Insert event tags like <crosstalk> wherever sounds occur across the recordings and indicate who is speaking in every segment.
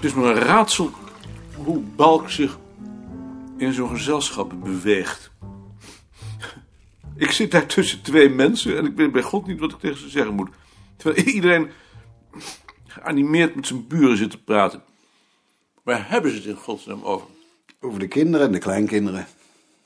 Speaker 1: is me een raadsel hoe Balk zich in zo'n gezelschap beweegt. Ik zit daar tussen twee mensen en ik weet bij God niet wat ik tegen ze zeggen moet. Terwijl iedereen geanimeerd met zijn buren zit te praten. Waar hebben ze het in godsnaam over?
Speaker 2: Over de kinderen en de kleinkinderen.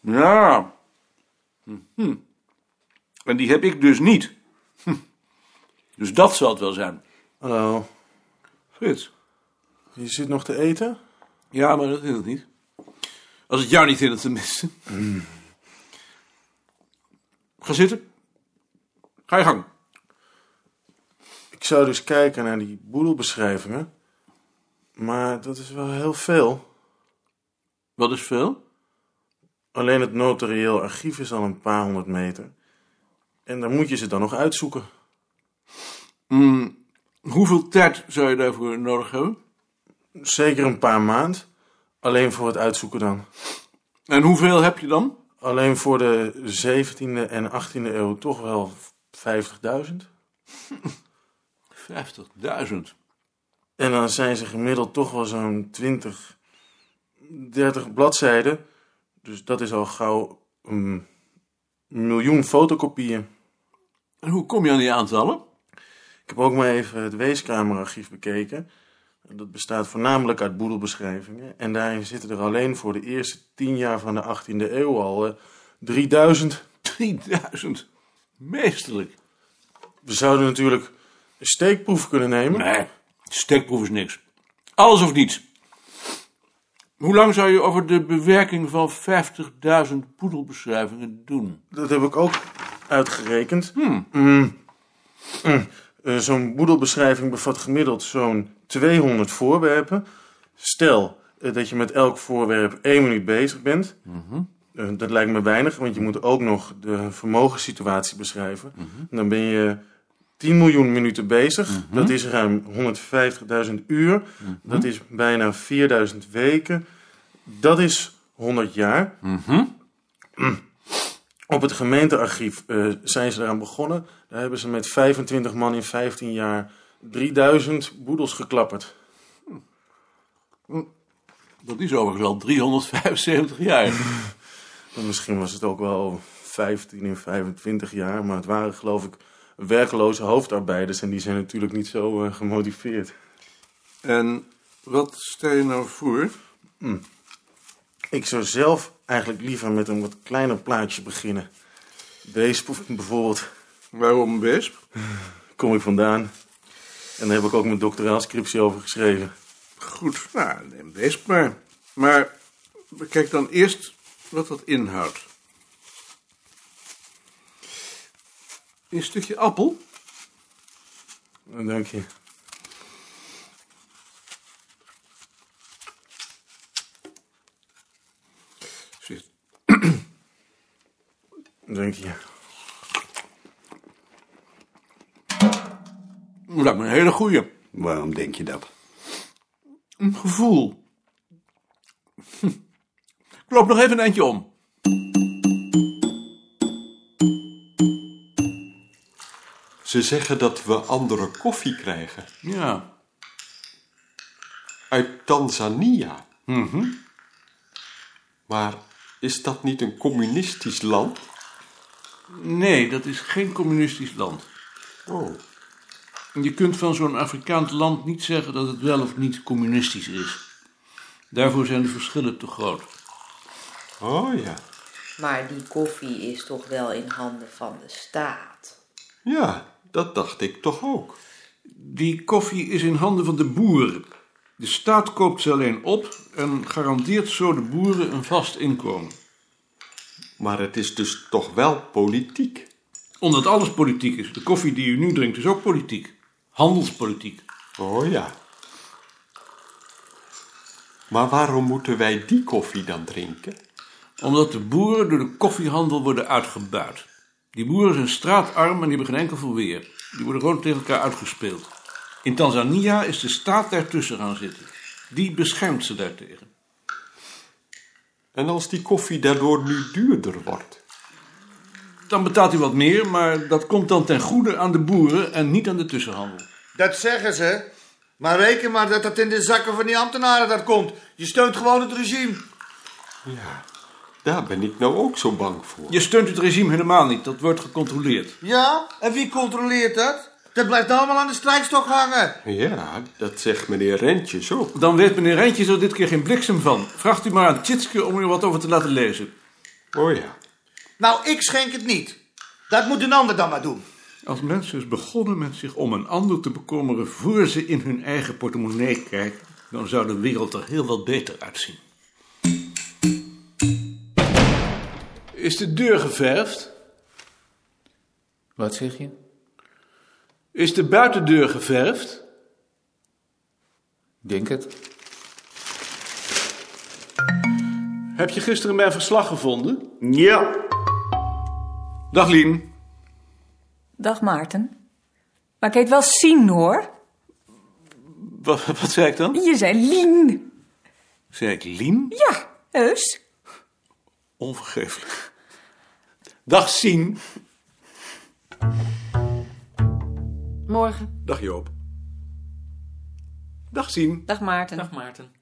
Speaker 1: Ja. Mhm. En die heb ik dus niet. Hm. Dus dat zal het wel zijn.
Speaker 3: Hallo,
Speaker 1: Frits.
Speaker 3: je zit nog te eten?
Speaker 1: Ja, maar dat is het niet. Als het jou niet in het tenminste. Ga zitten. Ga je gang.
Speaker 3: Ik zou dus kijken naar die boedelbeschrijvingen. Maar dat is wel heel veel.
Speaker 1: Wat is veel?
Speaker 3: Alleen het notarieel archief is al een paar honderd meter. En dan moet je ze dan nog uitzoeken.
Speaker 1: Mm, hoeveel tijd zou je daarvoor nodig hebben?
Speaker 3: Zeker een paar maand. Alleen voor het uitzoeken dan.
Speaker 1: En hoeveel heb je dan?
Speaker 3: Alleen voor de 17e en 18e eeuw toch wel 50.000.
Speaker 1: 50.000. Dat
Speaker 3: En dan zijn ze gemiddeld toch wel zo'n 20, 30 bladzijden. Dus dat is al gauw een miljoen fotokopieën.
Speaker 1: En hoe kom je aan die aantallen?
Speaker 3: Ik heb ook maar even het Weeskamerarchief bekeken. Dat bestaat voornamelijk uit boedelbeschrijvingen. En daarin zitten er alleen voor de eerste tien jaar van de 18e eeuw al eh, 3000.
Speaker 1: 3000. Meesterlijk.
Speaker 3: We zouden natuurlijk een steekproef kunnen nemen.
Speaker 1: Nee, steekproef is niks. Alles of niets. Hoe lang zou je over de bewerking van 50.000 poedelbeschrijvingen doen?
Speaker 3: Dat heb ik ook uitgerekend. Mm. Mm. Eh, zo'n boedelbeschrijving bevat gemiddeld zo'n 200 voorwerpen. Stel eh, dat je met elk voorwerp één minuut bezig bent. Eh, dat lijkt me weinig, want je moet ook nog de vermogenssituatie beschrijven. Dan ben je 10 miljoen minuten bezig. Dat is ruim 150.000 uur. Dat is bijna 4000 weken. Dat is 100 jaar. Op het gemeentearchief eh, zijn ze eraan begonnen. Daar hebben ze met 25 man in 15 jaar 3000 boedels geklapperd.
Speaker 1: Dat is overigens al 375 jaar.
Speaker 3: En Misschien was het ook wel 15 in 25 jaar, maar het waren geloof ik werkloze hoofdarbeiders. En die zijn natuurlijk niet zo eh, gemotiveerd.
Speaker 1: En wat stel je nou voor?
Speaker 3: Ik zou zelf eigenlijk liever met een wat kleiner plaatje beginnen. Deze bijvoorbeeld
Speaker 1: Waarom Wesp?
Speaker 3: kom ik vandaan. En daar heb ik ook mijn doctoraalscriptie over geschreven.
Speaker 1: Goed, nou, neem Wesp maar. Maar bekijk dan eerst wat dat inhoudt. Een stukje appel?
Speaker 3: Dank je.
Speaker 1: Zit.
Speaker 3: Dank je.
Speaker 1: Dat lijkt me een hele goeie.
Speaker 2: Waarom denk je dat?
Speaker 1: Een gevoel. Hm. Ik loop nog even een eindje om.
Speaker 4: Ze zeggen dat we andere koffie krijgen.
Speaker 1: Ja.
Speaker 4: Uit Tanzania. Maar is dat niet een communistisch land?
Speaker 1: Nee, dat is geen communistisch land.
Speaker 4: Oh.
Speaker 1: Je kunt van zo'n Afrikaans land niet zeggen dat het wel of niet communistisch is. Daarvoor zijn de verschillen te groot.
Speaker 4: Oh ja.
Speaker 5: Maar die koffie is toch wel in handen van de staat.
Speaker 4: Ja, dat dacht ik toch ook.
Speaker 1: Die koffie is in handen van de boeren. De staat koopt ze alleen op en garandeert zo de boeren een vast inkomen.
Speaker 4: Maar het is dus toch wel politiek.
Speaker 1: Omdat alles politiek is. De koffie die u nu drinkt is ook politiek. Handelspolitiek.
Speaker 4: Oh ja. Maar waarom moeten wij die koffie dan drinken?
Speaker 1: Omdat de boeren door de koffiehandel worden uitgebuit. Die boeren zijn straatarm en die hebben geen enkel verweer. Die worden gewoon tegen elkaar uitgespeeld. In Tanzania is de staat daartussen gaan zitten. Die beschermt ze daartegen.
Speaker 4: En als die koffie daardoor nu duurder wordt?
Speaker 1: Dan betaalt hij wat meer, maar dat komt dan ten goede aan de boeren en niet aan de tussenhandel.
Speaker 6: Dat zeggen ze, Maar reken maar dat dat in de zakken van die ambtenaren dat komt. Je steunt gewoon het regime.
Speaker 4: Daar ben ik nou ook zo bang voor.
Speaker 1: Je steunt het regime helemaal niet. Dat wordt gecontroleerd.
Speaker 6: Ja, en wie controleert dat? Dat blijft allemaal aan de strijkstok hangen.
Speaker 4: Ja, dat zegt meneer Rentjes ook.
Speaker 1: Dan weet meneer Rijntjes er dit keer geen bliksem van. Vraagt u maar aan Tjitske om u wat over te laten lezen.
Speaker 4: Oh ja.
Speaker 6: Nou, ik schenk het niet. Dat moet een ander dan maar doen.
Speaker 1: Als mensen eens begonnen met zich om een ander te bekommeren voor ze in hun eigen portemonnee kijken, dan zou de wereld er heel wat beter uitzien. Is de deur geverfd?
Speaker 7: Wat zeg je?
Speaker 1: Is de buitendeur geverfd?
Speaker 7: Denk het.
Speaker 1: Heb je gisteren mijn verslag gevonden?
Speaker 6: Ja.
Speaker 1: Dag Lien.
Speaker 8: Dag Maarten. Maar ik heet wel Sien hoor.
Speaker 1: Wat, wat zei ik dan?
Speaker 8: Je zei Lien.
Speaker 1: Zei ik Lien?
Speaker 8: Ja, heus.
Speaker 1: Onvergeeflijk. Dag Sien.
Speaker 9: Morgen.
Speaker 1: Dag Joop. Dag Sien.
Speaker 9: Dag Maarten.
Speaker 7: Dag Maarten.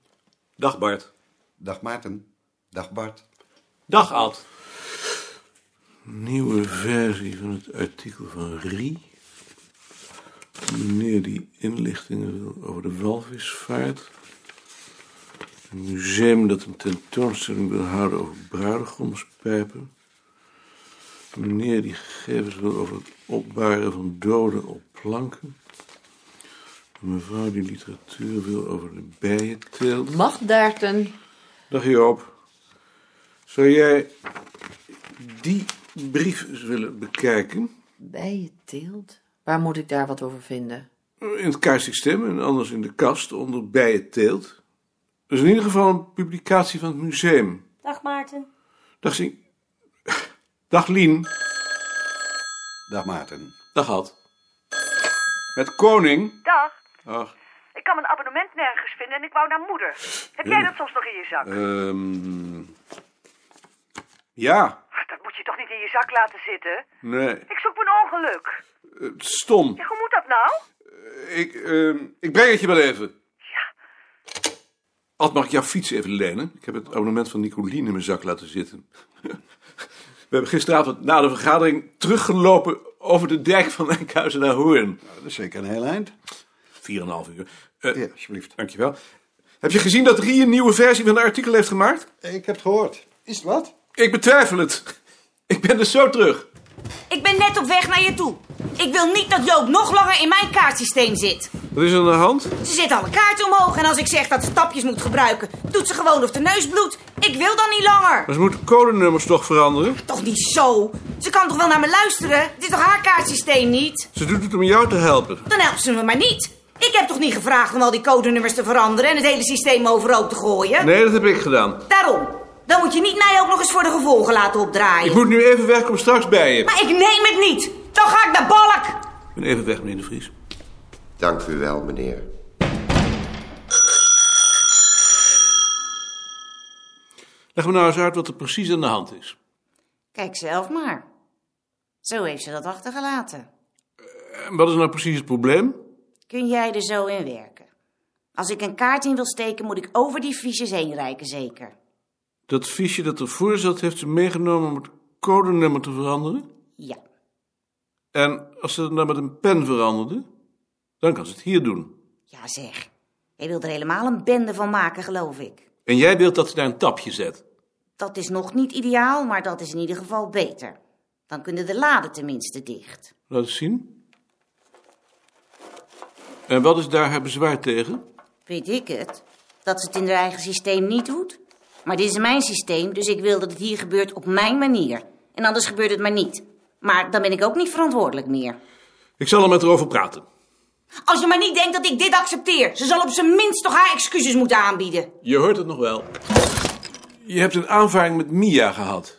Speaker 1: Dag Bart.
Speaker 2: Dag Maarten. Dag Bart.
Speaker 1: Dag Ad. Nieuwe versie van het artikel van Rie. Meneer die inlichtingen wil over de walvisvaart. Een museum dat een tentoonstelling wil houden over bruidegomspijpen. Meneer die gegevens wil over het opbaren van doden op planken. Een Mevrouw die literatuur wil over de bijenteelt.
Speaker 9: Mag Maarten.
Speaker 1: Dag Joop. Zou jij die brief eens willen bekijken?
Speaker 9: Bij je teelt. Waar moet ik daar wat over vinden?
Speaker 1: In het kaartsysteem en anders in de kast onder bij het teelt. Dat is in ieder geval een publicatie van het museum.
Speaker 10: Dag Maarten.
Speaker 1: Dag Sien. Dag Lien.
Speaker 2: Dag Maarten.
Speaker 1: Dag Ad. Met Koning.
Speaker 11: Dag.
Speaker 1: Ach,
Speaker 11: Ik kan mijn abonnement nergens vinden en ik wou naar moeder. Heb jij dat soms nog in je zak?
Speaker 1: ehm. Ja,
Speaker 11: Dat moet je toch niet in je zak laten zitten?
Speaker 1: nee.
Speaker 11: Ik zoek mijn ongeluk.
Speaker 1: Eh, Stom.
Speaker 11: Ja, hoe moet dat nou?
Speaker 1: Ik, ehm, ik breng het je wel even. Ad, mag ik jouw fiets even lenen? Ik heb het abonnement van Nicolien in mijn zak laten zitten. We hebben gisteravond na de vergadering teruggelopen over de dijk van Enkhuizen naar Hoorn.
Speaker 2: Dat is zeker een heel eind.
Speaker 1: Vier en een half uur. Eh
Speaker 2: Ja, alsjeblieft.
Speaker 1: Dankjewel. Heb je gezien dat Rie een nieuwe versie van het artikel heeft gemaakt?
Speaker 2: Ik heb het gehoord. Is het wat?
Speaker 1: Ik betwijfel het. <laughs> Ik ben dus zo terug.
Speaker 10: Ik ben net op weg naar je toe. Ik wil niet dat Joop nog langer in mijn kaartsysteem zit.
Speaker 1: Wat is er aan de hand?
Speaker 10: Ze zet alle kaarten omhoog en als ik zeg dat ze tapjes moet gebruiken, doet ze gewoon of de neus bloedt. Ik wil dan niet langer.
Speaker 1: Maar ze moeten codenummers toch veranderen?
Speaker 10: Toch niet zo. Ze kan toch wel naar me luisteren? Het is toch haar kaartsysteem niet?
Speaker 1: Ze doet het om jou te helpen.
Speaker 10: Dan helpt ze me maar niet. Ik heb toch niet gevraagd om al die codenummers te veranderen en het hele systeem overhoop te gooien?
Speaker 1: Nee, dat heb ik gedaan.
Speaker 10: Daarom. Dan moet je niet mij ook nog eens voor de gevolgen laten opdraaien.
Speaker 1: Ik moet nu even weg, kom straks bij je.
Speaker 10: Maar ik neem het niet. Dan ga ik naar Balk.
Speaker 1: Ik ben even weg, meneer de Vries.
Speaker 12: Dank u wel, meneer.
Speaker 1: Leg me nou eens uit wat er precies aan de hand is.
Speaker 9: Kijk zelf maar. Zo heeft ze dat achtergelaten.
Speaker 1: En wat is nou precies het probleem?
Speaker 9: Kun jij er zo in werken? Als ik een kaart in wil steken, moet ik over die fiches heen reiken, zeker.
Speaker 1: Dat fiche dat ervoor zat, heeft ze meegenomen om het codenummer te veranderen.
Speaker 9: Ja.
Speaker 1: En als ze het nou met een pen veranderde, dan kan ze het hier doen.
Speaker 9: Ja, zeg. Hij wil er helemaal een bende van maken, geloof ik.
Speaker 1: En jij wilt dat ze daar een tapje zet.
Speaker 9: Dat is nog niet ideaal, maar dat is in ieder geval beter. Dan kunnen de laden tenminste dicht.
Speaker 1: Laat eens zien. En wat is daar haar bezwaar tegen?
Speaker 9: Weet ik het? Dat ze het in haar eigen systeem niet doet? Maar dit is mijn systeem, dus ik wil dat het hier gebeurt op mijn manier. En anders gebeurt het maar niet. Maar dan ben ik ook niet verantwoordelijk meer.
Speaker 1: Ik zal er met haar over praten.
Speaker 10: Als je maar niet denkt dat ik dit accepteer. Ze zal op zijn minst toch haar excuses moeten aanbieden.
Speaker 1: Je hoort het nog wel. Je hebt een aanvaring met Mia gehad. <laughs>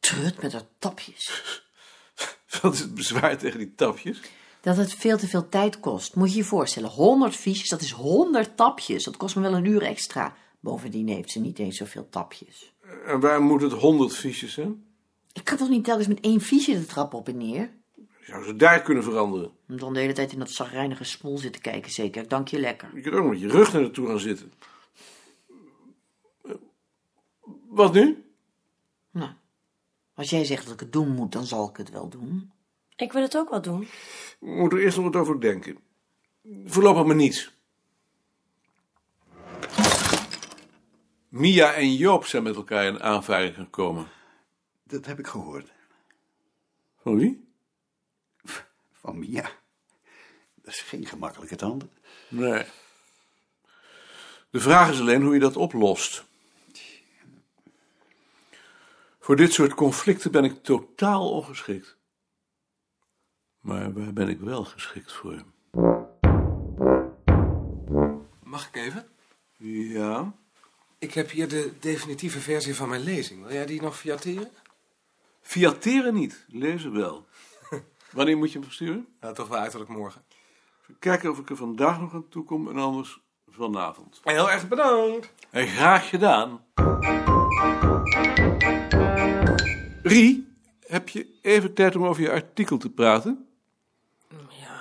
Speaker 9: Trut Oh, met haar tapjes.
Speaker 1: Wat is het bezwaar tegen die tapjes?
Speaker 9: Dat het veel te veel tijd kost. Moet je je voorstellen, 100 fiches, dat is 100 tapjes. Dat kost me wel een uur extra. Bovendien heeft ze niet eens zoveel tapjes.
Speaker 1: En waar moet het honderd fiches zijn?
Speaker 9: Ik kan toch niet telkens met één fiche de trap op en neer?
Speaker 1: Zou ze daar kunnen veranderen?
Speaker 13: Om dan de hele tijd in dat zagrijnige smoel zitten kijken, zeker. Dank je lekker.
Speaker 1: Je kunt ook met je rug naar naartoe gaan zitten. Wat nu?
Speaker 13: Nou, als jij zegt dat ik het doen moet, dan zal ik het wel doen.
Speaker 14: Ik wil het ook wel doen.
Speaker 1: We moeten er eerst nog wat over denken. Voorlopig maar niets. Mia en Joop zijn met elkaar in aanvaring gekomen.
Speaker 2: Dat heb ik gehoord.
Speaker 1: Van wie?
Speaker 2: Van Mia. Dat is geen gemakkelijke tand.
Speaker 1: Nee. De vraag is alleen hoe je dat oplost. Voor dit soort conflicten ben ik totaal ongeschikt. Maar waar ben ik wel geschikt voor?
Speaker 15: Mag ik even?
Speaker 1: Ja.
Speaker 15: Ik heb hier de definitieve versie van mijn lezing. Wil jij die nog fiateren?
Speaker 1: Fiateren niet, lezen wel. Wanneer moet je hem versturen?
Speaker 15: Nou, toch wel uiterlijk morgen.
Speaker 1: Even kijken of ik er vandaag nog aan toe kom en anders vanavond.
Speaker 15: Heel erg bedankt.
Speaker 1: En graag gedaan. Rie, heb je even tijd om over je artikel te praten?
Speaker 14: Ja.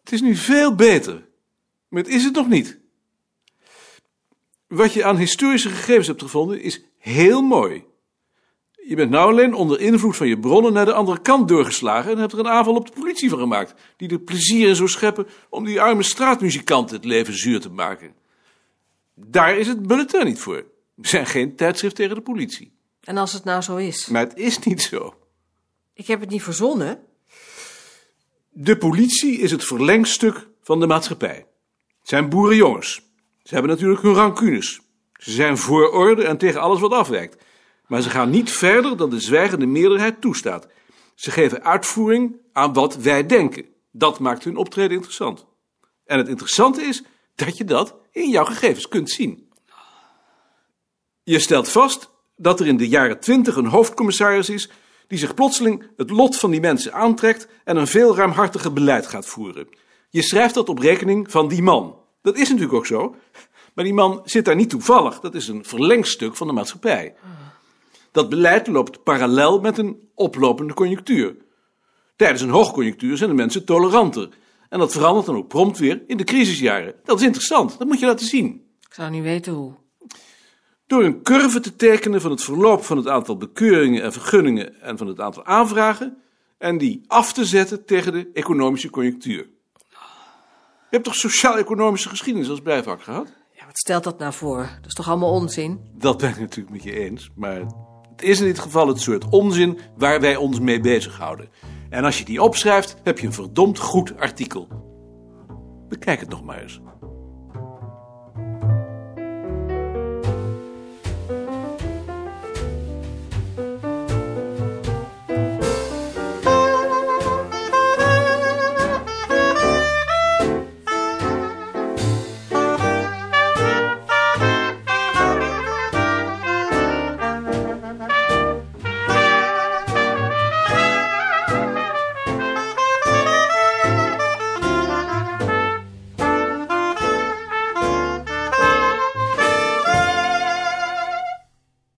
Speaker 1: Het is nu veel beter. Maar het is het nog niet. Wat je aan historische gegevens hebt gevonden is heel mooi. Je bent nou alleen onder invloed van je bronnen naar de andere kant doorgeslagen en hebt er een aanval op de politie van gemaakt, die er plezier in zou scheppen om die arme straatmuzikant het leven zuur te maken. Daar is het bulletin niet voor. We zijn geen tijdschrift tegen de politie.
Speaker 14: En als het nou zo is?
Speaker 1: Maar het is niet zo.
Speaker 14: Ik heb het niet verzonnen.
Speaker 1: De politie is het verlengstuk van de maatschappij. Het zijn boerenjongens. Ze hebben natuurlijk hun rancunes. Ze zijn voor orde en tegen alles wat afwijkt. Maar ze gaan niet verder dan de zwijgende meerderheid toestaat. Ze geven uitvoering aan wat wij denken. Dat maakt hun optreden interessant. En het interessante is dat je dat in jouw gegevens kunt zien. Je stelt vast dat er in de jaren twintig een hoofdcommissaris is die zich plotseling het lot van die mensen aantrekt en een veel ruimhartiger beleid gaat voeren. Je schrijft dat op rekening van die man. Dat is natuurlijk ook zo. Maar die man zit daar niet toevallig. Dat is een verlengstuk van de maatschappij. Dat beleid loopt parallel met een oplopende conjunctuur. Tijdens een hoogconjunctuur zijn de mensen toleranter. En dat verandert dan ook prompt weer in de crisisjaren. Dat is interessant, dat moet je laten zien.
Speaker 13: Ik zou niet weten hoe.
Speaker 1: Door een curve te tekenen van het verloop van het aantal bekeuringen en vergunningen en van het aantal aanvragen. En die af te zetten tegen de economische conjunctuur. Je hebt toch sociaal-economische geschiedenis als bijvak gehad?
Speaker 14: Ja, wat stelt dat nou voor? Dat is toch allemaal onzin?
Speaker 1: Dat ben ik natuurlijk met je eens, maar het is in dit geval het soort onzin waar wij ons mee bezighouden. En als je die opschrijft, heb je een verdomd goed artikel. Bekijk het nog maar eens.